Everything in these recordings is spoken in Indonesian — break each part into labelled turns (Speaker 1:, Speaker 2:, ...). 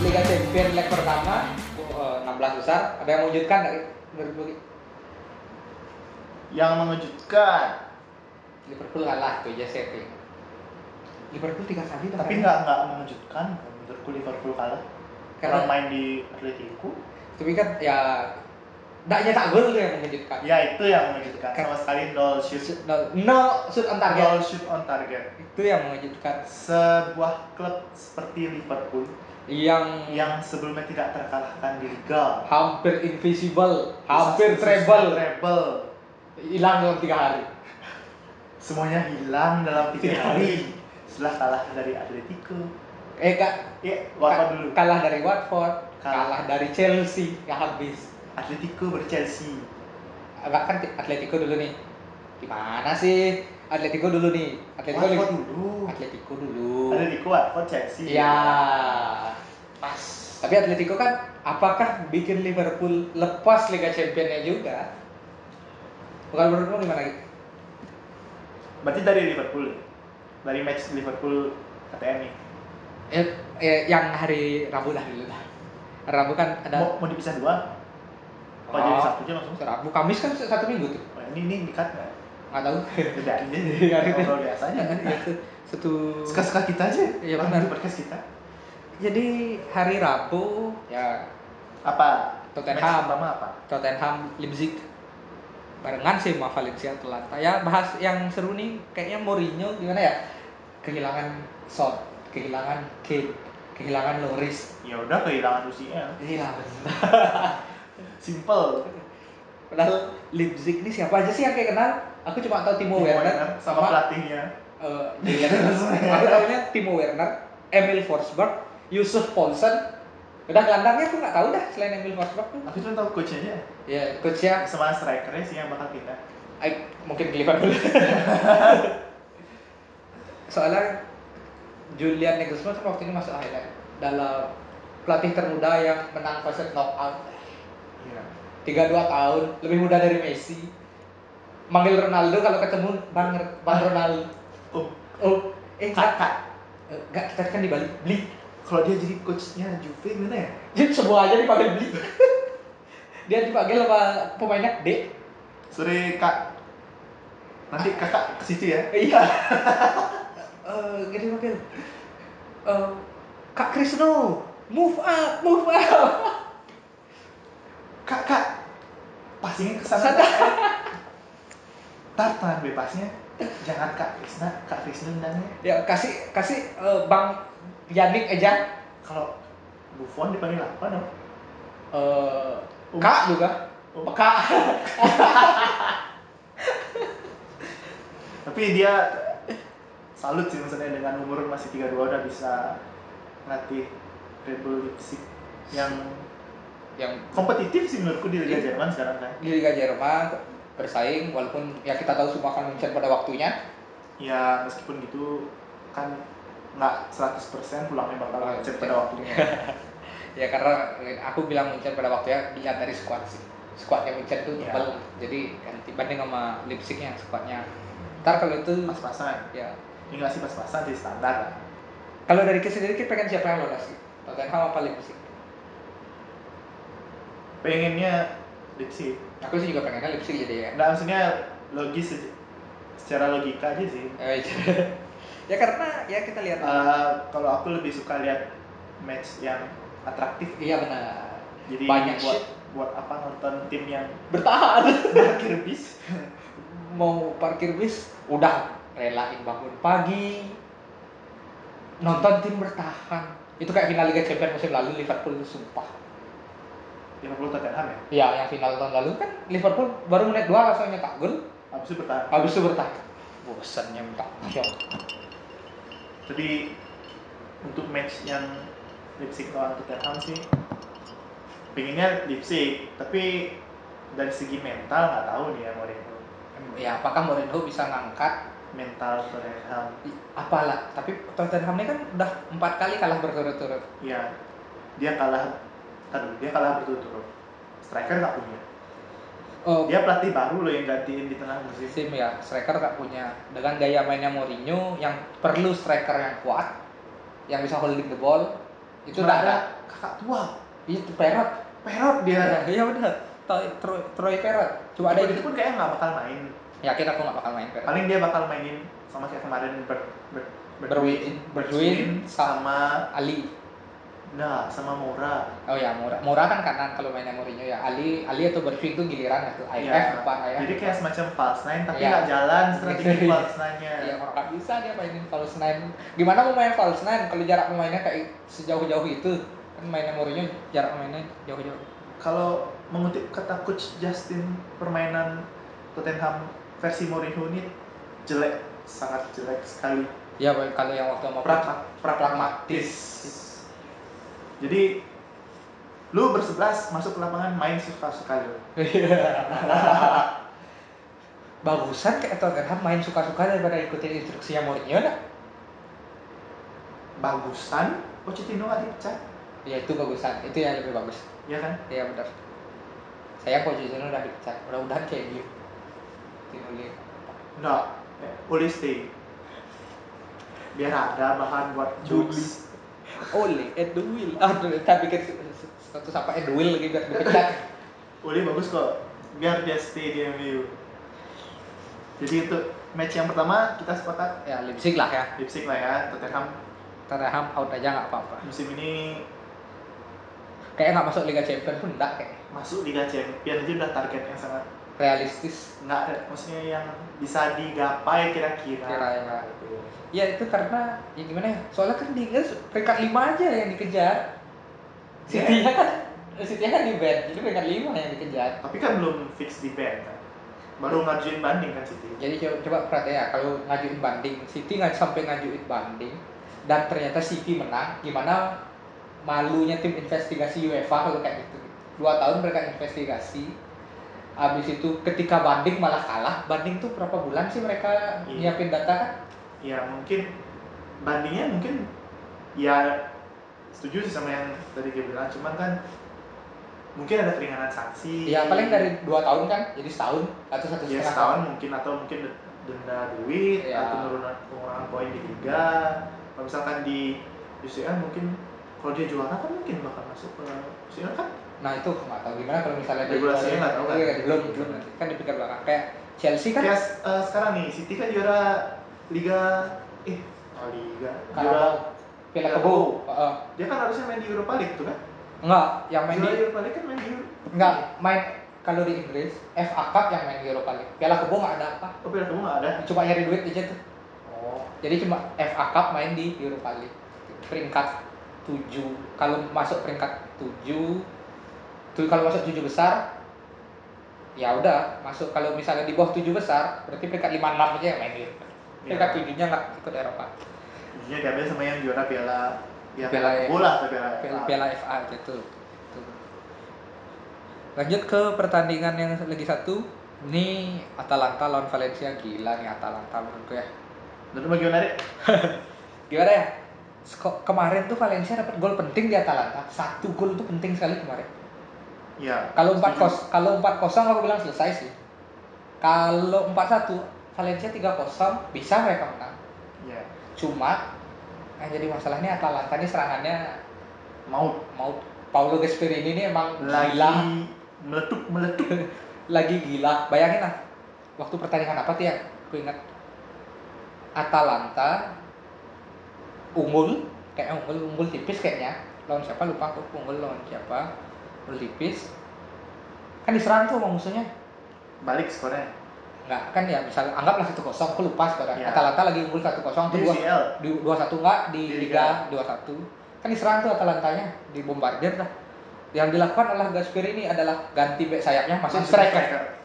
Speaker 1: Champion leg pertama eh, 16 besar. Ada yang mewujudkan dari menurut Buki?
Speaker 2: Yang mengejutkan,
Speaker 1: Liverpool kalah ke JCP. Liverpool tiga kali bahkan.
Speaker 2: tapi nggak nggak mengejutkan menurutku Liverpool kalah. Karena
Speaker 1: karena
Speaker 2: main di Atletico,
Speaker 1: tapi kan ya nggak nyetak gol tuh yang mengejutkan.
Speaker 2: ya itu yang mengejutkan. Sama sekali nol shoot,
Speaker 1: Shoot- No, no shoot on target.
Speaker 2: nol shoot on target.
Speaker 1: Itu yang mengejutkan.
Speaker 2: Sebuah klub seperti Liverpool
Speaker 1: Hmm. Yang
Speaker 2: yang sebelumnya tidak terkalahkan di Liga,
Speaker 1: hampir invisible, hampir
Speaker 2: Khususnya
Speaker 1: treble,
Speaker 2: treble,
Speaker 1: hilang dalam tiga hari.
Speaker 2: semuanya hilang dalam tiga
Speaker 1: Tiga
Speaker 2: hari setelah kalah dari Atletico.
Speaker 1: Eh kak,
Speaker 2: Ya, Watford dulu.
Speaker 1: kalah dari Watford,
Speaker 2: Kalah.
Speaker 1: kalah dari Chelsea, nggak habis.
Speaker 2: Atletico berChelsea.
Speaker 1: bahkan kan Atletico dulu nih gimana sih Atletico dulu nih Atletico
Speaker 2: Watford
Speaker 1: dulu
Speaker 2: dulu.
Speaker 1: Atletico dulu
Speaker 2: Atletico Watford Chelsea.
Speaker 1: ya pas tapi Atletico kan apakah bikin Liverpool lepas Liga Championnya juga bukan menurutmu gimana gitu
Speaker 2: Berarti dari Liverpool. ya? Dari match Liverpool KTM nih.
Speaker 1: eh, eh, yang hari Rabu dah dulu dah Rabu kan ada
Speaker 2: Mau, mau dipisah dua? Apa
Speaker 1: Oh.
Speaker 2: jadi satu aja langsung?
Speaker 1: Rabu Kamis kan satu minggu tuh
Speaker 2: Oh, ini ini dikat nggak?
Speaker 1: nggak tahu
Speaker 2: Beda aja.
Speaker 1: Iya, gitu.
Speaker 2: Ngobrol biasanya. kan
Speaker 1: Ya, satu
Speaker 2: Suka-suka kita aja.
Speaker 1: Iya,
Speaker 2: Orang
Speaker 1: benar.
Speaker 2: di podcast kita.
Speaker 1: jadi hari Rabu ya
Speaker 2: Apa?
Speaker 1: Tottenham.
Speaker 2: Match pertama apa?
Speaker 1: Tottenham Leipzig barengan sih sama Valencia Atalanta ya bahas yang seru nih kayaknya Mourinho gimana ya kehilangan Son kehilangan Kane kehilangan Loris
Speaker 2: Ya udah kehilangan UCL.
Speaker 1: iya bener.
Speaker 2: Simple.
Speaker 1: padahal Leipzig ini siapa aja sih yang kayak kenal aku cuma tahu Timo,
Speaker 2: Timo
Speaker 1: Werner
Speaker 2: sama pelatihnya.
Speaker 1: eh, Julian Nagelsmann. aku tahunya Timo Werner Emil Forsberg Yusuf Poulsen udah gelandangnya aku nggak tahu dah selain Emil Forsberg tuh
Speaker 2: Aku cuma tahu coachnya aja.
Speaker 1: ya coachnya
Speaker 2: Sama strikernya sih yang bakal pindah.
Speaker 1: I, mungkin ke Liverpool. Soalnya Julian Nagelsmann kan waktu ini masuk highlight dalam pelatih termuda yang menang fase knockout
Speaker 2: Iya.
Speaker 1: 32 tahun, lebih muda dari Messi. Manggil Ronaldo kalau ketemu Bang Bang Ronaldo.
Speaker 2: Oh,
Speaker 1: Oh, eh enggak,
Speaker 2: kakak.
Speaker 1: enggak kita kan di Bali. Bli.
Speaker 2: Kalau dia jadi coachnya Juve gimana ya?
Speaker 1: Jadi semua aja dipanggil Bli. Dia dipanggil sama pemainnya D.
Speaker 2: Sorry kak, nanti kakak ke situ ya.
Speaker 1: Iya. Eh, gini panggil. Eh, Kak Krisno, move up, move up.
Speaker 2: Kak kak, passingnya ke sana.
Speaker 1: Sana.
Speaker 2: Tar tangan Eh. bebasnya, jangan kak Krisna, kak Krisna nendangnya.
Speaker 1: Ya kasih kasih eh, Bang Yannick aja.
Speaker 2: Kalau Buffon dipanggil apa dong?
Speaker 1: Eh,
Speaker 2: Um.
Speaker 1: Kak juga.
Speaker 2: Um.
Speaker 1: Kak.
Speaker 2: Tapi dia eh, salut sih maksudnya dengan umur masih 32 udah bisa ngelatih Red Bull Leipzig yang
Speaker 1: Yang
Speaker 2: kompetitif sih menurutku di Liga
Speaker 1: Iya.
Speaker 2: Jerman sekarang kan.
Speaker 1: di Liga Jerman bersaing walaupun ya kita tahu semua akan muncul pada waktunya.
Speaker 2: ya meskipun gitu kan nggak 100% pulangnya bakal
Speaker 1: Oh,
Speaker 2: macet
Speaker 1: iya.
Speaker 2: pada waktunya
Speaker 1: Ya karena aku bilang muncul pada waktunya dilihat dari squad sih. Squadnya muncul tuh
Speaker 2: Iya.
Speaker 1: tebal. Jadi kan dibanding sama Leipzig yang squadnya. Ntar kalau itu
Speaker 2: pas-pasan
Speaker 1: ya
Speaker 2: ini nggak sih pas-pasan sih standar kan. lah
Speaker 1: Kalau dari kita sendiri kita pengen siapa yang lolos? sih? Tottenham apa Leipzig?
Speaker 2: pengennya Leipzig
Speaker 1: Aku sih juga pengennya Leipzig jadi ya.
Speaker 2: nggak maksudnya logis aja- secara logika aja sih
Speaker 1: Eh, ya karena ya kita lihat.
Speaker 2: Eh, kalau aku lebih suka lihat match yang atraktif
Speaker 1: Iya benar.
Speaker 2: jadi
Speaker 1: Banyak
Speaker 2: buat
Speaker 1: shit.
Speaker 2: buat apa nonton tim yang
Speaker 1: Bertahan.
Speaker 2: parkir bis
Speaker 1: Mau parkir bis udah relain bangun pagi. Nonton tim bertahan. Itu kayak final Liga Champions musim lalu Liverpool sumpah.
Speaker 2: Liverpool Tottenham
Speaker 1: Ya,
Speaker 2: ya
Speaker 1: yang final tahun lalu kan Liverpool baru menit 2 langsung nyetak gol,
Speaker 2: abis itu bertahan
Speaker 1: habis itu bertahan. Bosannya minta Ya. ampun.
Speaker 2: Jadi untuk match yang Leipzig lawan Tottenham sih pinginnya Leipzig, tapi dari segi mental nggak tahu nih ya Mourinho.
Speaker 1: Ya, apakah Mourinho bisa ngangkat
Speaker 2: Mental Tottenham,
Speaker 1: apalah tapi Tottenham ini kan udah empat kali kalah berturut-turut
Speaker 2: ya dia kalah, aduh dia kalah berturut-turut. Striker nggak punya.
Speaker 1: oh,
Speaker 2: Dia pelatih baru loh yang gantiin di tengah musim.
Speaker 1: sim ya striker gak punya dengan gaya mainnya Mourinho yang perlu striker yang kuat yang bisa holding the ball Itu
Speaker 2: Cuma
Speaker 1: udah ada.
Speaker 2: kakak tua
Speaker 1: Itu Perot.
Speaker 2: Perot dia
Speaker 1: Iya, Iya benar. Troy, Troy, Troy Perot. Cuma ada
Speaker 2: itu
Speaker 1: itu.
Speaker 2: pun kayaknya nggak bakal main
Speaker 1: Yakin aku nggak bakal main Perot.
Speaker 2: paling dia bakal mainin sama kayak kemarin ber, ber,
Speaker 1: Berwin, Berwin,
Speaker 2: sama
Speaker 1: Ali.
Speaker 2: nah sama Mora
Speaker 1: Oh ya, Mura. Mura kan kanan kalau mainnya Mourinho ya. Ali, Ali atau Berfi itu giliran ya tuh. IF
Speaker 2: Iya.
Speaker 1: depan IF.
Speaker 2: Jadi kayak semacam false nine tapi
Speaker 1: Iya.
Speaker 2: nggak jalan strategi
Speaker 1: Iya.
Speaker 2: false nine-nya.
Speaker 1: Iya, orang nggak bisa dia mainin false nine. Gimana mau main false nine kalau jarak pemainnya kayak sejauh-jauh itu? Kan mainnya Mourinho jarak pemainnya jauh-jauh.
Speaker 2: Kalau mengutip kata coach Justin, permainan Tottenham versi Mourinho ini jelek, sangat jelek sekali.
Speaker 1: Ya, kalau yang waktu mau
Speaker 2: Pragma- Pragmatis. Jadi lu bersebelas masuk ke lapangan main suka-suka lu.
Speaker 1: Bagusan kayak Tottenham main suka-suka daripada ikutin instruksinya Mourinho nah.
Speaker 2: Bagusan Pochettino nggak dipecat,
Speaker 1: Ya itu bagusan, itu yang lebih bagus.
Speaker 2: ya kan?
Speaker 1: Iya benar. Saya Pochettino udah dipecat, mudah-mudahan kayak gitu. Tinuli.
Speaker 2: Nggak, eh, Uli stay. Biar ada bahan buat jokes.
Speaker 1: Oleh Edwin. Aduh, kita bikin status apa Edwin lagi biar dipecat.
Speaker 2: Uli bagus kok. Biar dia stay di MU. Jadi itu match yang pertama kita sepakat
Speaker 1: ya Leipzig lah ya.
Speaker 2: Leipzig lah ya, Tottenham
Speaker 1: Tottenham out aja nggak apa-apa.
Speaker 2: musim ini
Speaker 1: Kayak nggak masuk Liga Champions pun nggak kayak
Speaker 2: masuk Liga Champions itu udah target yang sangat
Speaker 1: realistis.
Speaker 2: nggak ada, maksudnya yang bisa digapai kira-kira.
Speaker 1: Kira-kira.
Speaker 2: Gitu.
Speaker 1: Ya itu karena ya gimana ya? Soalnya kan di Inggris peringkat 5 aja yang dikejar. City-nya kan City-nya kan di band, jadi peringkat 5 yang dikejar.
Speaker 2: Tapi kan belum fix di band kan. Baru ngajuin banding kan City.
Speaker 1: Jadi coba, coba perhatiin ya, kalau ngajuin banding, City nggak sampai ngajuin banding, dan ternyata City menang, gimana malunya tim investigasi UEFA kalau kayak gitu. Dua tahun mereka investigasi, habis itu ketika banding malah kalah, banding tuh berapa bulan sih mereka
Speaker 2: Iya.
Speaker 1: nyiapin data kan?
Speaker 2: Ya mungkin bandingnya mungkin ya setuju sih sama yang tadi gue bilang, cuman kan mungkin ada keringanan sanksi.
Speaker 1: Ya paling dari dua tahun kan, jadi setahun atau satu
Speaker 2: ya
Speaker 1: setengah
Speaker 2: setahun mungkin atau mungkin denda duit
Speaker 1: Iya.
Speaker 2: atau penurunan pengurangan poin di liga kalau misalkan di UCL mungkin kalau dia juara kan mungkin bakal masuk ke UCL kan
Speaker 1: Nah itu aku nggak tahu gimana kalau misalnya dia
Speaker 2: Regulasinya nggak tahu kan?
Speaker 1: Iya, belum belum nanti kan dipikir belakang kayak Chelsea kan
Speaker 2: kayak eh, sekarang nih City kan juara liga eh oh, liga juara
Speaker 1: kalau Piala
Speaker 2: Piala
Speaker 1: Kebo,
Speaker 2: Kebo.
Speaker 1: heeh.
Speaker 2: dia kan harusnya main di Europa League tuh kan
Speaker 1: enggak yang main di
Speaker 2: juara Europa League kan main di Euro-
Speaker 1: Enggak, main kalau di Inggris FA Cup yang main di Europa League. Piala Kebo nggak ada apa,
Speaker 2: oh Piala kamu nggak ada
Speaker 1: cuma nyari duit aja tuh.
Speaker 2: oh
Speaker 1: Jadi cuma FA Cup main di Europa League. Peringkat 7. Kalau masuk peringkat 7 tuh kalau masuk 7 besar ya udah masuk kalau misalnya di bawah 7 besar berarti peringkat 5 6 aja yang main di Europa League. Peringkat
Speaker 2: ya,
Speaker 1: 7-nya nggak ikut Eropa.
Speaker 2: jadinya diambil Iya, sama yang juara Piala ya
Speaker 1: Piala E.
Speaker 2: bola atau Piala
Speaker 1: Piala,
Speaker 2: FA.
Speaker 1: Piala FA gitu. Gitu. Lanjut ke pertandingan yang lagi satu. Ini Atalanta lawan Valencia gila nih Atalanta menurutku ya.
Speaker 2: dan bagaimana Rik?
Speaker 1: Gimana ya? Sko- kemarin tuh Valencia dapat gol penting di Atalanta. Satu gol tuh penting sekali kemarin.
Speaker 2: ya
Speaker 1: Kalau 4
Speaker 2: setuju.
Speaker 1: kos, kalau 4 kosong aku bilang selesai sih. Kalau 4-1 Valencia 3-0 bisa mereka menang.
Speaker 2: ya
Speaker 1: Cuma yang jadi masalahnya Atalanta ini serangannya
Speaker 2: mau
Speaker 1: mau Paulo Gasperini ini emang
Speaker 2: lagi
Speaker 1: gila
Speaker 2: meletup meletup
Speaker 1: lagi gila bayangin lah waktu pertandingan apa tuh ya aku ingat Atalanta unggul kayaknya unggul unggul tipis kayaknya lawan siapa lupa aku unggul lawan siapa unggul tipis kan diserang tuh sama musuhnya
Speaker 2: balik skornya
Speaker 1: nggak kan ya misalnya anggaplah satu kosong aku lupa sekarang
Speaker 2: Ya.
Speaker 1: Atalanta lagi unggul satu kosong
Speaker 2: di
Speaker 1: tuh dua
Speaker 2: UCL
Speaker 1: dua satu nggak di
Speaker 2: Di
Speaker 1: liga dua satu kan diserang tuh Atalantanya dibombardir lah yang dilakukan oleh Gasperini adalah ganti back sayapnya masuk striker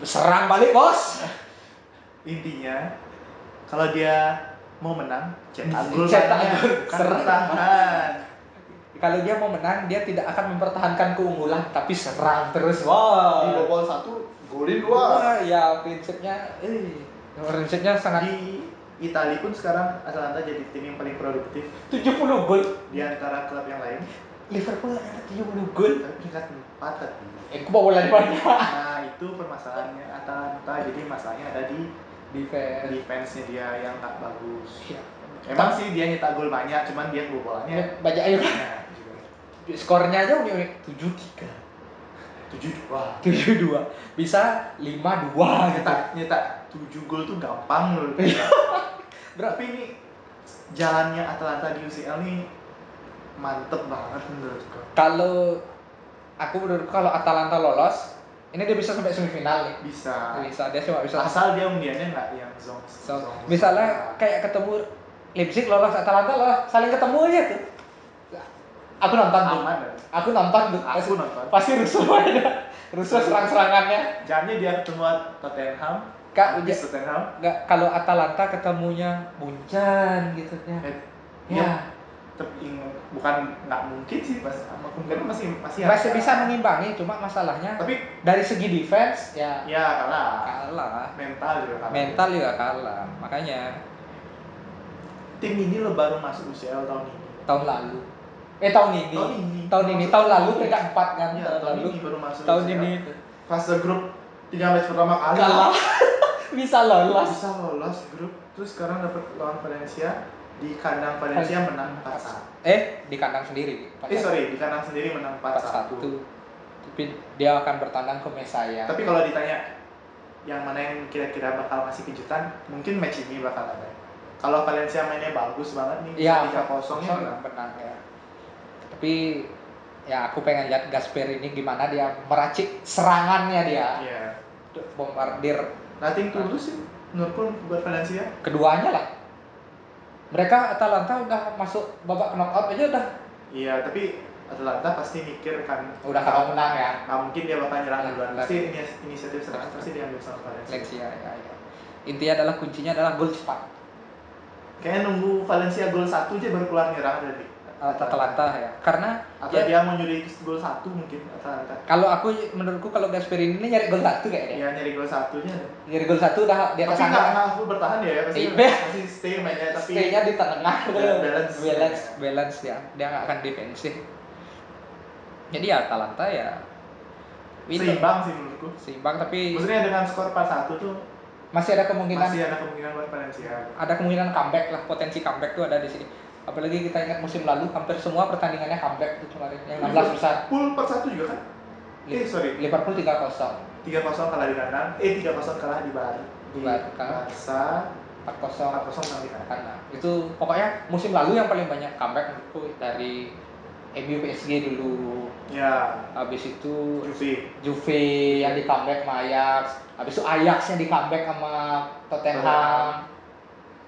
Speaker 1: serang balik bos
Speaker 2: intinya kalau dia mau menang cetak gol
Speaker 1: Cetak
Speaker 2: banyak, Kan
Speaker 1: gol.
Speaker 2: bukan
Speaker 1: Serang.
Speaker 2: bertahan
Speaker 1: kalau dia mau menang dia tidak akan mempertahankan keunggulan tapi serang terus wow
Speaker 2: bobol satu golin
Speaker 1: Wah, ya prinsipnya eh prinsipnya sangat
Speaker 2: di Italia pun sekarang Atalanta jadi tim yang paling produktif
Speaker 1: 70 gol
Speaker 2: di antara klub yang lain
Speaker 1: Liverpool ada 70 gol
Speaker 2: tapi peringkat empat tapi
Speaker 1: eh kebobolan banyak
Speaker 2: nah itu permasalahannya Atalanta jadi masalahnya ada di
Speaker 1: defense
Speaker 2: defense-nya dia yang nggak bagus
Speaker 1: Iya.
Speaker 2: Emang sih dia nyetak gol banyak, cuman dia kebobolannya.
Speaker 1: Baca ayo
Speaker 2: Nah,
Speaker 1: skornya aja Uni Uni 7-3
Speaker 2: tujuh dua.
Speaker 1: 7-2 bisa 5-2 gitu.
Speaker 2: Nyetak nyetak tujuh gol tuh gampang loh.
Speaker 1: Bro,
Speaker 2: Tapi ini jalannya Atalanta di UCL ini mantep banget menurutku.
Speaker 1: kalau aku menurutku kalau Atalanta lolos, ini dia bisa sampai semifinal nih.
Speaker 2: Bisa.
Speaker 1: Bisa dia cuma bisa.
Speaker 2: Asal dia undiannya nggak yang zong.
Speaker 1: So, Iya. misalnya kayak ketemu Leipzig lolos, Atalanta lolos, saling ketemu aja tuh. Aku nonton tuh.
Speaker 2: aman kan?
Speaker 1: Aku nonton tuh.
Speaker 2: Aku nonton.
Speaker 1: Pasti rusuh aja. Rusuh serang-serangannya.
Speaker 2: Jamnya dia ketemu Tottenham.
Speaker 1: Kak,
Speaker 2: habis Tottenham.
Speaker 1: nggak kalau Atalanta ketemunya Muncan gitu ya.
Speaker 2: Eh,
Speaker 1: Ya,
Speaker 2: Tapi ing- bukan nggak mungkin sih pas sama Kungkren masih masih
Speaker 1: Ya, masih
Speaker 2: ada.
Speaker 1: bisa mengimbangi, cuma masalahnya
Speaker 2: Tapi
Speaker 1: dari segi defense ya
Speaker 2: ya kalah.
Speaker 1: kalah.
Speaker 2: Mental juga kalah.
Speaker 1: mental juga kalah makanya
Speaker 2: Tim ini lo baru masuk UCL tahun ini.
Speaker 1: tahun lalu eh tahun ini
Speaker 2: Tahun ini.
Speaker 1: tahun ini tahun lalu peringkat empat kan
Speaker 2: Iya,
Speaker 1: tahun
Speaker 2: tahun
Speaker 1: lalu
Speaker 2: ini baru masuk
Speaker 1: tahun
Speaker 2: UCL.
Speaker 1: ini
Speaker 2: fase grup tiga match pertama kali.
Speaker 1: kalah Iya. bisa lolos
Speaker 2: Bisa lolos grup. Terus sekarang dapat lawan Valencia di kandang Valencia menang 4-1.
Speaker 1: eh di kandang sendiri
Speaker 2: Eh sorry, di kandang sendiri menang 4-1.
Speaker 1: satu tapi dia akan bertandang ke ya. Mesaya
Speaker 2: Tapi kalau ditanya yang mana yang kira-kira bakal masih kejutan, mungkin match ini bakal ada. Kalau Valencia mainnya bagus banget nih,
Speaker 1: Iya,
Speaker 2: 3-0 nya menang.
Speaker 1: menang ya tapi ya aku pengen lihat Gasper ini gimana dia meracik serangannya dia
Speaker 2: Iya.
Speaker 1: bombardir
Speaker 2: Nothing to lose sih menurutku buat Valencia.
Speaker 1: keduanya lah mereka Atalanta udah masuk babak knockout aja udah
Speaker 2: Iya, tapi Atalanta pasti mikir kan
Speaker 1: udah kalau menang ya
Speaker 2: nggak mungkin dia bakal nyerang duluan.
Speaker 1: Nah,
Speaker 2: Pasti ini- inisiatif serangan pasti diambil sama Valencia.
Speaker 1: Lexia ya, ya. intinya adalah kuncinya adalah gol cepat
Speaker 2: Kayaknya nunggu Valencia gol satu aja baru keluar nyerang dari
Speaker 1: Atalanta ya karena
Speaker 2: Atau
Speaker 1: ya,
Speaker 2: dia mau nyuri gol satu mungkin Atalanta.
Speaker 1: kalau aku menurutku kalau Gasperini ini nyari gol satu kayaknya
Speaker 2: Iya nyari gol satunya.
Speaker 1: nyari gol satu udah di atas
Speaker 2: Tapi nggak
Speaker 1: sana
Speaker 2: nggak full bertahan dia ya, pasti
Speaker 1: Iya.
Speaker 2: pasti stay mainnya tapi
Speaker 1: stay-nya di tengah
Speaker 2: Iya, balance.
Speaker 1: balance balance ya dia nggak akan defensif jadi ya Atalanta ya itu
Speaker 2: seimbang sih menurutku.
Speaker 1: seimbang tapi
Speaker 2: Maksudnya dengan skor 4-1 tuh
Speaker 1: masih ada kemungkinan
Speaker 2: masih ada kemungkinan buat Valencia.
Speaker 1: ada kemungkinan comeback lah potensi comeback tuh ada di sini apalagi kita ingat musim lalu hampir semua pertandingannya comeback tuh kemarin yang 16 besar
Speaker 2: Full 4-1 juga kan?
Speaker 1: Iya.
Speaker 2: Eh sorry,
Speaker 1: Liverpool 3-0
Speaker 2: 3-0 kalah di kandang, eh 3-0 kalah di Bar di
Speaker 1: Barca.
Speaker 2: Barca,
Speaker 1: 4-0
Speaker 2: 4-0 kalah di kandang.
Speaker 1: karena itu pokoknya musim lalu yang paling banyak comeback menurutku dari MU PSG dulu
Speaker 2: Ya,
Speaker 1: habis itu
Speaker 2: Juve.
Speaker 1: Juve yang di comeback sama Ajax habis itu Ajax yang di comeback sama Tottenham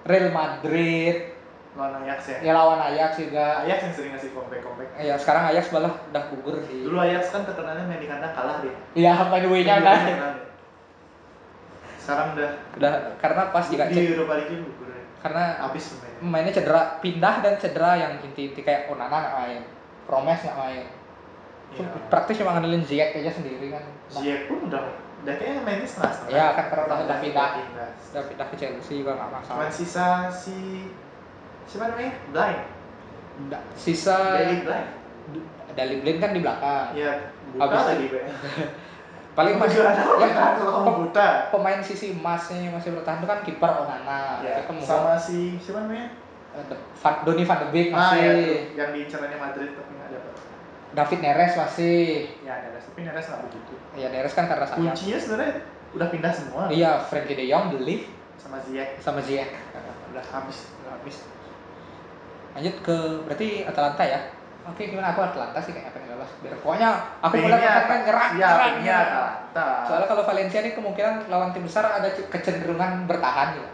Speaker 1: Real Madrid
Speaker 2: lawan Ajax ya. Iya,
Speaker 1: ya lawan Ajax juga
Speaker 2: Ajax yang sering ngasih comeback-comeback.
Speaker 1: ya sekarang Ajax malah udah gugur sih
Speaker 2: Dulu Ajax kan terkenalnya main di kandang kalah dia.
Speaker 1: ya by the way-nya
Speaker 2: Dulu
Speaker 1: udah
Speaker 2: terkenal dia. kan Sekarang udah
Speaker 1: udah karena pas Hmm, juga
Speaker 2: di Europa League gugur.
Speaker 1: karena
Speaker 2: Habis pemainnya.
Speaker 1: mainnya cedera pindah dan cedera yang inti-inti kayak Onana nggak main Promes nggak main
Speaker 2: Ya.
Speaker 1: praktis cuma ngandelin Ziyech aja sendiri kan
Speaker 2: Ziyech pun udah udah kayaknya mainnya setengah-setengah.
Speaker 1: Ya, kan karena udah- udah pindah. Ah.
Speaker 2: pindah.
Speaker 1: udah pindah ke Chelsea juga nggak
Speaker 2: Cuman
Speaker 1: masalah
Speaker 2: sisa si siapa namanya? Blind.
Speaker 1: Nggak, sisa
Speaker 2: Daily Blind.
Speaker 1: Dali Blind kan di belakang
Speaker 2: Ya, buta
Speaker 1: Habis Iya,
Speaker 2: lagi, Be.
Speaker 1: paling
Speaker 2: Emang
Speaker 1: masih
Speaker 2: juga ada orang
Speaker 1: Ya.
Speaker 2: kan kalau kamu buta.
Speaker 1: pemain sisi emasnya yang masih bertahan itu kan kiper Onana
Speaker 2: Ya,
Speaker 1: ketemu
Speaker 2: sama si siapa namanya?
Speaker 1: eh, De- Van- Donny van de Beek
Speaker 2: Ah,
Speaker 1: masih
Speaker 2: ya, tuh, yang diincarannya Madrid tapi nggak dapat.
Speaker 1: David Neres masih
Speaker 2: Ya, Neres, tapi Neres nggak begitu.
Speaker 1: ya Neres kan karena sayap
Speaker 2: Kuncinya sebenarnya udah pindah semua
Speaker 1: iya Frankie de Jong beli
Speaker 2: sama Ziyech.
Speaker 1: sama Ziyech
Speaker 2: Udah habis.
Speaker 1: habis lanjut ke berarti Atalanta ya oke gimana aku Atalanta sih kayak pengen lolos biar pokoknya aku mulai
Speaker 2: Pengennya-
Speaker 1: akan nyerang
Speaker 2: Ya,
Speaker 1: nyerang,
Speaker 2: pinginnya
Speaker 1: nyerang.
Speaker 2: Atalanta.
Speaker 1: gitu. soalnya kalau Valencia ini kemungkinan lawan tim besar ada c- kecenderungan bertahan gitu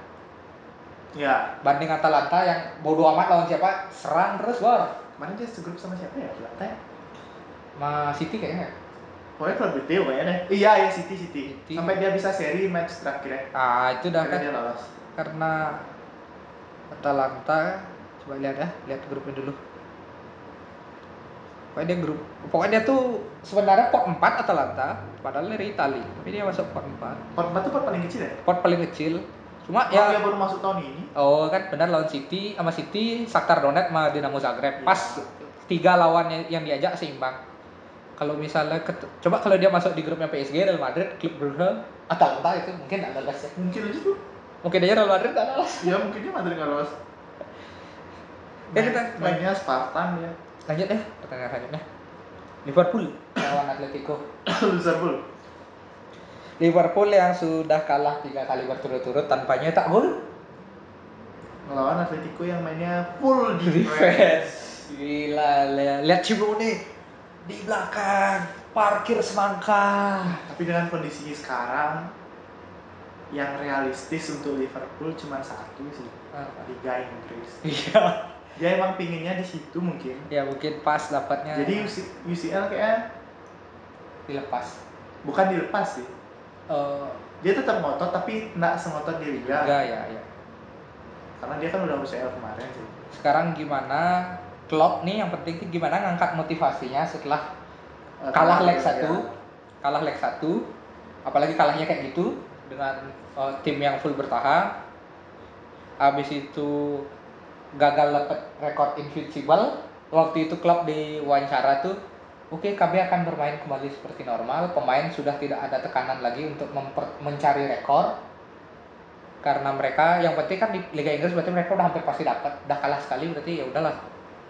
Speaker 2: Ya,
Speaker 1: banding Atalanta yang bodo amat lawan siapa serang terus gol
Speaker 2: kemarin dia segrup sama siapa ya? Atalanta. ya?
Speaker 1: sama City kayaknya
Speaker 2: Pokoknya klub gede pokoknya deh. Iya, ya City, City.
Speaker 1: City.
Speaker 2: Sampai dia bisa seri match terakhir ya.
Speaker 1: ah itu udah
Speaker 2: Akhirnya
Speaker 1: kan
Speaker 2: dia lolos.
Speaker 1: karena Atalanta coba lihat ya lihat grupnya dulu pokoknya dia grup pokoknya dia tuh sebenarnya pot 4 Atalanta padahal dari Itali tapi dia masuk pot 4
Speaker 2: Pot empat tuh pot paling kecil ya?
Speaker 1: pot paling kecil cuma
Speaker 2: Ya.
Speaker 1: ya
Speaker 2: Dia baru masuk tahun ini.
Speaker 1: oh kan benar lawan City sama City Shakhtar Donetsk sama Dinamo Zagreb
Speaker 2: Iya.
Speaker 1: pas tiga lawannya yang diajak seimbang kalau misalnya ket- coba kalau dia masuk di grupnya PSG Real Madrid Club Brugge Atalanta itu mungkin nggak lolos ya
Speaker 2: Mungkin aja tuh. Iya,
Speaker 1: mungkin aja Real Madrid nggak lolos
Speaker 2: Ya mungkin dia Madrid nggak lolos.
Speaker 1: Ya, kita-
Speaker 2: mainnya Spartan ya.
Speaker 1: Lanjut ya, pertandingan selanjutnya. Liverpool lawan Atletico.
Speaker 2: Liverpool.
Speaker 1: Liverpool yang sudah kalah tiga kali berturut-turut tanpa nyetak gol.
Speaker 2: Melawan Atletico yang mainnya full defense.
Speaker 1: Defense. Gila, lihat, lihat Cimone di belakang, parkir semangka.
Speaker 2: Tapi dengan kondisi sekarang yang realistis untuk Liverpool cuma satu sih,
Speaker 1: Ah.
Speaker 2: Liga Inggris.
Speaker 1: Iya.
Speaker 2: Dia emang pinginnya di situ mungkin.
Speaker 1: ya mungkin pas dapatnya.
Speaker 2: Jadi UC UCL kayaknya
Speaker 1: dilepas.
Speaker 2: bukan dilepas sih.
Speaker 1: Eh,
Speaker 2: Dia tetap ngotot tapi nggak sengotot di Liga.
Speaker 1: enggak ya, ya.
Speaker 2: Karena dia kan udah UCL kemarin sih.
Speaker 1: Sekarang gimana Klopp nih yang penting tuh gimana ngangkat motivasinya setelah kalah leg
Speaker 2: Eh, Liga.
Speaker 1: satu, kalah leg satu, apalagi kalahnya kayak gitu dengan eh, tim yang full bertahan. Habis itu gagal dapat rekor invincible. Waktu itu klub di wawancara tuh, oke kami akan bermain kembali seperti normal. Pemain sudah tidak ada tekanan lagi untuk memper- mencari rekor karena mereka yang penting kan di Liga Inggris berarti mereka udah hampir pasti dapat udah kalah sekali berarti ya udahlah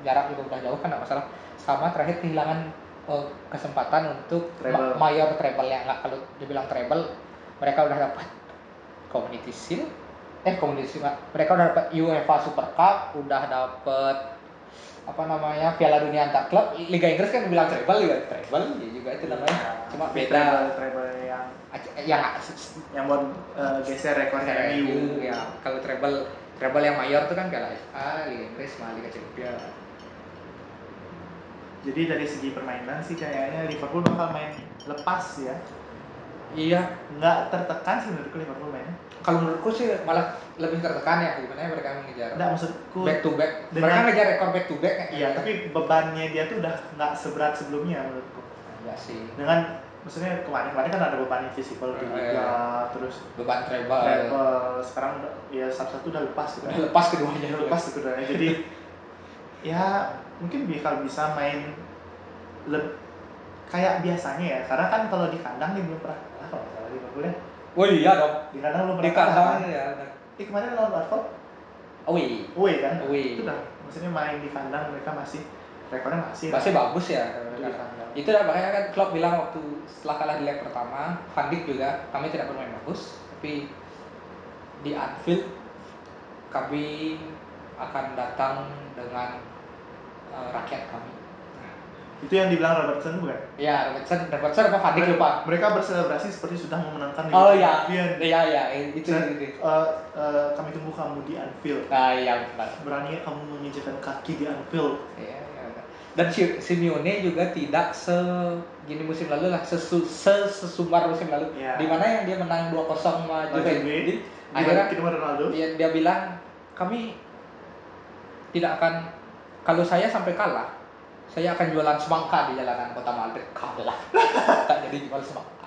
Speaker 1: jarak juga udah jauh kan nggak masalah sama terakhir kehilangan eh, kesempatan untuk
Speaker 2: Treble.
Speaker 1: ma- mayor treble ya nggak kalau dibilang treble mereka udah dapat Community Shield eh Community Shield nggak. mereka udah dapat UEFA Super Cup udah dapat apa namanya Piala Dunia antar klub Liga Inggris kan dibilang treble juga treble ya juga itu namanya
Speaker 2: Iya.
Speaker 1: cuma
Speaker 2: Tapi
Speaker 1: beda eh,
Speaker 2: treble-treble yang
Speaker 1: yang
Speaker 2: yang buat eh, geser gitu. rekornya MU.
Speaker 1: ya kalau treble treble yang mayor tuh kan Piala FA Liga Inggris sama Liga Champions
Speaker 2: Jadi dari segi permainan sih kayaknya Liverpool bakal main lepas ya.
Speaker 1: iya
Speaker 2: Nggak tertekan sih menurutku Liverpool mainnya.
Speaker 1: kalau menurutku sih malah lebih tertekan ya gimana ya mereka mengejar
Speaker 2: Nggak maksudku.
Speaker 1: back to back
Speaker 2: Dengan-
Speaker 1: mereka ngejar rekor back to back ya? kayaknya.
Speaker 2: Iya, tapi bebannya dia tuh udah nggak seberat sebelumnya menurutku.
Speaker 1: iya sih
Speaker 2: Dengan maksudnya kemarin-kemarin kan ada beban invisible di
Speaker 1: Iya,
Speaker 2: Liga,
Speaker 1: iya.
Speaker 2: terus
Speaker 1: beban treble
Speaker 2: level sekarang udah- ya satu-satu udah lepas gitu.
Speaker 1: udah lepas keduanya
Speaker 2: Udah lepas gitu udah. Jadi ya mungkin bakal bisa main leb- kayak biasanya ya. Karena kan kalau di kandang dia belum pernah kalah kalau nggak salah Liverpool ya.
Speaker 1: oh iya dong
Speaker 2: Di kandang belum
Speaker 1: di
Speaker 2: pernah kalah.
Speaker 1: kandang
Speaker 2: kan?
Speaker 1: ya
Speaker 2: Eh kemarin lawan Watford
Speaker 1: oh iya
Speaker 2: away kan?
Speaker 1: Away.
Speaker 2: Itu dah. Maksudnya main di kandang mereka masih rekornya masih.
Speaker 1: masih bagus ya
Speaker 2: Itu di kandang.
Speaker 1: itu dah makanya kan Klopp bilang waktu setelah kalah di leg pertama Van Dijk juga kami tidak bermain bagus tapi di Anfield kami akan datang dengan eh, rakyat kami
Speaker 2: Itu yang dibilang Robertson bukan?
Speaker 1: ya Robertson Robertson apa Van Dijk lupa
Speaker 2: Mereka berselebrasi seperti sudah memenangkan
Speaker 1: oh
Speaker 2: Liga
Speaker 1: ya
Speaker 2: Champions.
Speaker 1: ya ya itu
Speaker 2: Dan,
Speaker 1: itu itu.
Speaker 2: eh, eh, kami tunggu kamu di Anfield.
Speaker 1: nah iya benar
Speaker 2: Berani kamu menginjakan kaki di Anfield.
Speaker 1: Iya, iya, benar. dan Si- Simeone juga tidak se gini musim lalu lah sesu, se- sesumbar musim lalu
Speaker 2: Iya.
Speaker 1: di mana yang dia menang 2-0 sama
Speaker 2: Lawan
Speaker 1: Juve
Speaker 2: Juve.
Speaker 1: Jadi, akhirnya
Speaker 2: Dibalikin sama Ronaldo. Iya.
Speaker 1: dia, dia bilang kami tidak akan kalau saya sampai kalah saya akan jualan semangka di jalanan kota Madrid kalah tak jadi jual semangka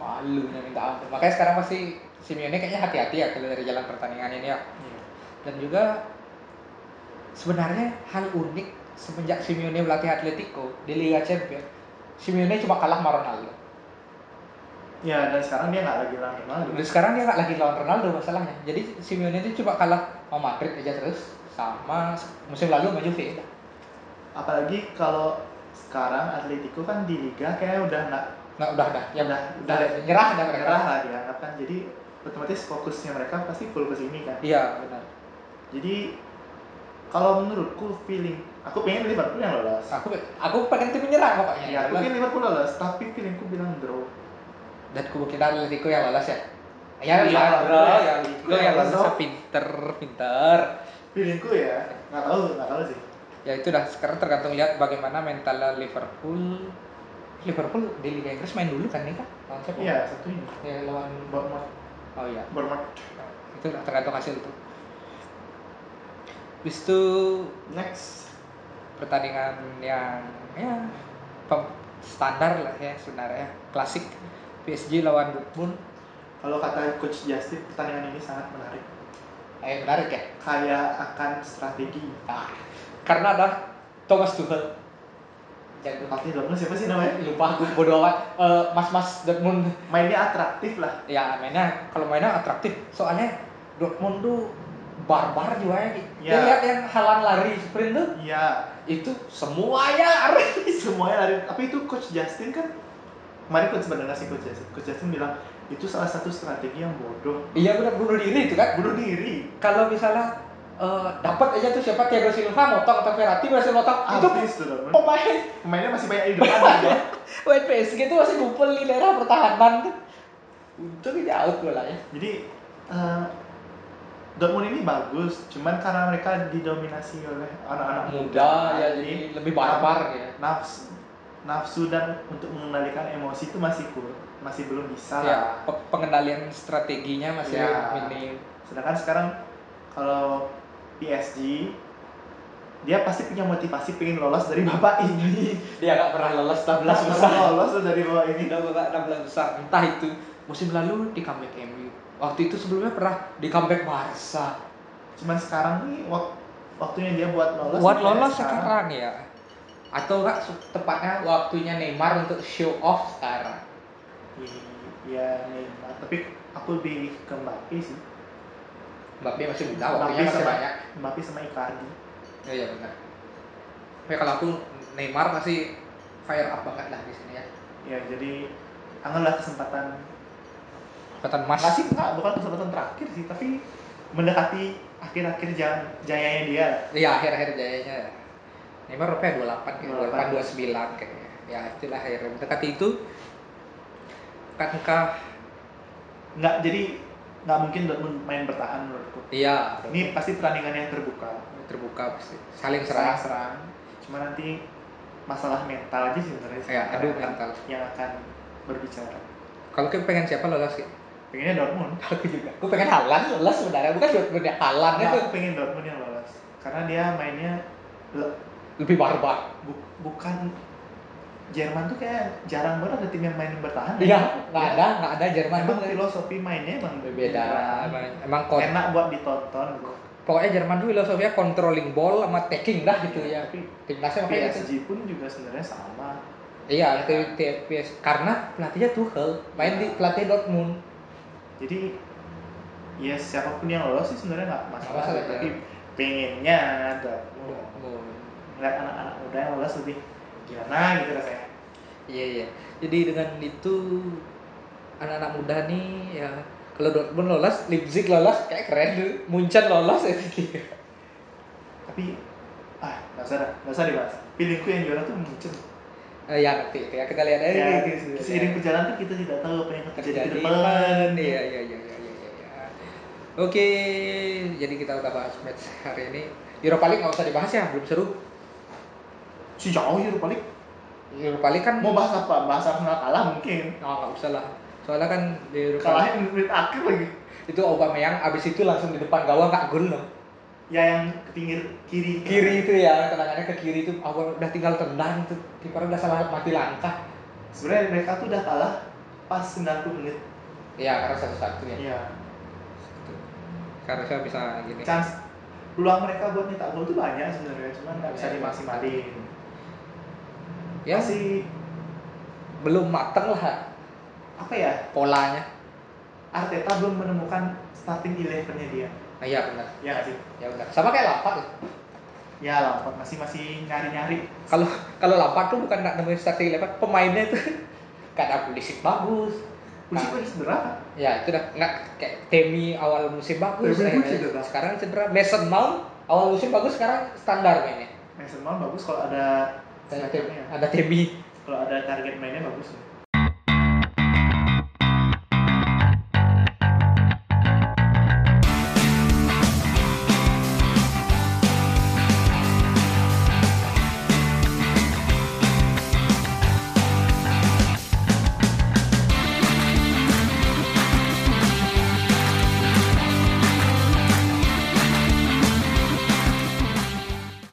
Speaker 1: malunya minta ampun makanya sekarang pasti Simeone kayaknya hati-hati ya kalau dari jalan pertandingan ini ya
Speaker 2: Iya.
Speaker 1: dan juga sebenarnya hal unik semenjak Simeone melatih Atletico di Liga Champions Simeone cuma kalah sama Ronaldo
Speaker 2: Ya, dan sekarang dia nggak lagi lawan Ronaldo.
Speaker 1: Dan sekarang dia nggak lagi lawan Ronaldo masalahnya. Jadi Simeone itu coba kalah sama Madrid aja terus sama musim lalu sama Juve.
Speaker 2: Apalagi kalau sekarang Atletico kan di Liga kayaknya udah nggak
Speaker 1: Nah udah udah ya udah, udah
Speaker 2: Udah.
Speaker 1: nyerah dah mereka.
Speaker 2: merah lah dianggap kan. Jadi otomatis fokusnya mereka pasti full ke sini kan.
Speaker 1: Iya benar.
Speaker 2: Jadi kalau menurutku feeling aku pengen Liverpool yang lolos.
Speaker 1: Aku aku pengen tim menyerang pokoknya.
Speaker 2: Ya, aku pengen Liverpool lolos, tapi feelingku bilang draw.
Speaker 1: Dan kemungkinan Atletico yang lolos ya. Ya,
Speaker 2: Iya,
Speaker 1: ya, bro,
Speaker 2: iya.
Speaker 1: ya, Atletico yang
Speaker 2: Iya,
Speaker 1: lolos
Speaker 2: bro.
Speaker 1: pinter, pinter.
Speaker 2: Feelingku ya, nggak tahu, nggak tahu sih.
Speaker 1: Ya itu dah. Sekarang tergantung lihat bagaimana mental Liverpool. Liverpool di Liga Inggris main dulu kan nih kan? Lawan siapa?
Speaker 2: Iya, satu ini.
Speaker 1: Ya, lawan.
Speaker 2: Bournemouth,
Speaker 1: Oh iya.
Speaker 2: Bournemouth.
Speaker 1: itu tergantung hasil tuh Habis itu
Speaker 2: Next,
Speaker 1: pertandingan yang ya pem- standar lah ya sebenarnya klasik PSG lawan Dortmund
Speaker 2: kalau kata Coach Justin, pertandingan ini sangat menarik.
Speaker 1: eh menarik ya
Speaker 2: Kayak akan strategi.
Speaker 1: nah, karena ada Thomas Tuchel jago
Speaker 2: Pelatih Dortmund siapa sih namanya?
Speaker 1: lupa gue bodo amat Eh, mas-mas Dortmund
Speaker 2: Mainnya atraktif lah.
Speaker 1: ya mainnya kalau mainnya atraktif soalnya Dortmund tuh barbar juaranya gitu.
Speaker 2: Ya.
Speaker 1: Dia lihat yang halan lari sprint tuh
Speaker 2: Iya,
Speaker 1: itu semuanya lari.
Speaker 2: semuanya lari. Tapi itu Coach Justin kan kemarin coach sebenarnya sih Coach Justin. Coach Justin bilang itu salah satu strategi yang bodoh.
Speaker 1: Iya benar bunuh diri itu kan.
Speaker 2: Bunuh diri.
Speaker 1: Kalau misalnya eh, dapat aja tuh siapa Thiago Silva motong atau Verratti berhasil motong itu
Speaker 2: Habis tuh temen.
Speaker 1: pemain
Speaker 2: Pemainnya masih banyak di depan gitu. aja.
Speaker 1: ya. pemain PSG tuh masih ngumpul di daerah pertahanan tuh. Untung ini out ya. bolanya.
Speaker 2: Jadi eh, Dortmund ini bagus, cuman karena mereka didominasi oleh anak-anak
Speaker 1: Muda ya jadi lebih barbar ya.
Speaker 2: nafsu nafsu dan untuk mengendalikan emosi itu masih kur, masih belum
Speaker 1: Ya,
Speaker 2: bisa lah.
Speaker 1: pe- pengendalian strateginya masih
Speaker 2: Ya.
Speaker 1: minim.
Speaker 2: Sedangkan sekarang kalau PSG dia pasti punya motivasi pengen lolos dari babak ini.
Speaker 1: Dia nggak pernah lolos 16
Speaker 2: Langsung
Speaker 1: besar.
Speaker 2: lolos tuh dari babak ini.
Speaker 1: Udah babak 16 besar. Entah itu musim lalu di comeback MU. Waktu itu sebelumnya pernah di comeback Barca.
Speaker 2: Cuman sekarang nih wak- waktunya dia buat lolos.
Speaker 1: Buat
Speaker 2: dia
Speaker 1: lolos sekarang ya. Atau enggak se- tepatnya waktunya Neymar untuk show off sekarang.
Speaker 2: Iya, Neymar. Tapi aku lebih ke Mbappe sih.
Speaker 1: Mbappe masih muda, waktunya
Speaker 2: Mbappe
Speaker 1: masih
Speaker 2: sama-
Speaker 1: banyak.
Speaker 2: Mbappe sama Icardi.
Speaker 1: Iya iya benar. Tapi kalau aku Neymar masih fire up banget lah di sini ya.
Speaker 2: Ya, jadi anganlah kesempatan
Speaker 1: Kekuatan Mas.
Speaker 2: masih enggak bukan kesempatan terakhir sih, tapi mendekati akhir-akhir ja- jayanya dia.
Speaker 1: Iya akhir-akhir jayanya Neymar rupanya 28 kayak 28
Speaker 2: 28.
Speaker 1: 29 kayaknya. Ya itulah akhirnya mendekati itu kan kah
Speaker 2: Nggak, jadi nggak mungkin Dortmund main bertahan menurutku.
Speaker 1: iya
Speaker 2: Ini pasti pertandingan yang terbuka.
Speaker 1: terbuka pasti saling serang.
Speaker 2: Serang-serang. Cuma nanti masalah mental aja sih sebenarnya. sih.
Speaker 1: Ya, aduh,
Speaker 2: Yang akan-
Speaker 1: mental.
Speaker 2: Yang akan berbicara.
Speaker 1: Kalau kayak pengen siapa lolos sih?
Speaker 2: Pengennya Dortmund.
Speaker 1: Aku juga. Aku pengen Halan lolos sebenarnya bukan buat benda Halan
Speaker 2: Karena
Speaker 1: itu
Speaker 2: aku pengen Dortmund yang lolos. Karena dia mainnya le-
Speaker 1: lebih barbar.
Speaker 2: bu- bukan Jerman tuh kayak jarang banget ada tim yang main bertahan. kan?
Speaker 1: Iya, nggak ada, nggak ada Jerman tuh
Speaker 2: Emang filosofi mainnya emang
Speaker 1: beda.
Speaker 2: jarang.
Speaker 1: Emang kon
Speaker 2: Enak buat ditonton. gitu.
Speaker 1: pokoknya Jerman tuh filosofinya controlling ball sama taking dah gitu ya.
Speaker 2: Tapi
Speaker 1: Timnasnya makanya gitu.
Speaker 2: PSG pun juga sebenarnya sama.
Speaker 1: Iya, itu TFPS karena pelatihnya Tuchel, main di pelatih Dortmund.
Speaker 2: Jadi ya siapapun yang lolos sih sebenarnya nggak
Speaker 1: Nggak
Speaker 2: masalah.
Speaker 1: masalah, ya.
Speaker 2: tapi pengennya Dortmund
Speaker 1: Dortmund.
Speaker 2: ngeliat anak-anak muda yang lolos lebih gimana gitu rasanya.
Speaker 1: Iya iya. Jadi dengan itu anak-anak muda nih ya kalau Dortmund lolos, Leipzig lolos, kayak keren tuh. Munchen lolos ya.
Speaker 2: Tapi ah nggak usah dah, nggak usah dibahas. Feelingku yang juara tuh muncul.
Speaker 1: Eh, ya nanti ya kita lihat aja.
Speaker 2: Ya,
Speaker 1: nih.
Speaker 2: seiring perjalanan tuh kita tidak tahu apa yang akan terjadi
Speaker 1: terjadi
Speaker 2: ke depan.
Speaker 1: Iya iya iya iya iya. iya, iya. Oke, jadi kita udah bahas match hari ini. Europa League nggak usah dibahas ya, belum seru.
Speaker 2: Si jauh ya paling.
Speaker 1: Europa League kan
Speaker 2: Mau bahas apa? Bahas Arsenal kalah mungkin.
Speaker 1: Oh, nggak usah lah. Soalnya kan di Europa League-
Speaker 2: Kalahnya menit akhir lagi.
Speaker 1: itu Aubameyang abis itu langsung di depan gawang kak gol loh
Speaker 2: Ya yang ke pinggir kiri.
Speaker 1: kiri itu ya tendangannya ke kiri itu awal udah tinggal tendang itu kiper udah salah mati langkah
Speaker 2: Sebenarnya mereka tuh udah kalah pas 90 menit.
Speaker 1: ya karena satu satu ya
Speaker 2: Iya.
Speaker 1: seharusnya bisa gini
Speaker 2: Ya, Chance peluang mereka buat nyetak gol tuh banyak sebenarnya, cuman nggak bisa dimaksimalin.
Speaker 1: ya
Speaker 2: Masih
Speaker 1: belum mateng lah
Speaker 2: apa ya?
Speaker 1: polanya
Speaker 2: Arteta belum menemukan starting eleven-nya dia.
Speaker 1: nah, iya benar
Speaker 2: Ya nggak sih.
Speaker 1: ya udah sama kayak Lampard ya
Speaker 2: Ya Lampard masih masih nyari-nyari.
Speaker 1: kalau kalau Lampard tuh bukan nggak nemuin starting eleven pemainnya itu kadang Pulisic bagus
Speaker 2: Pulisic lagi cedera kan?
Speaker 1: ya itu udah nggak kayak Temi awal musim bagus
Speaker 2: Temi pun
Speaker 1: akhirnya.
Speaker 2: cedera.
Speaker 1: sekarang cedera Mason Mount awal musim bagus sekarang standar mainnya
Speaker 2: Mason Mount bagus kalau ada
Speaker 1: ada,
Speaker 2: strikernya.
Speaker 1: ada Temi
Speaker 2: Kalau ada target mainnya bagus.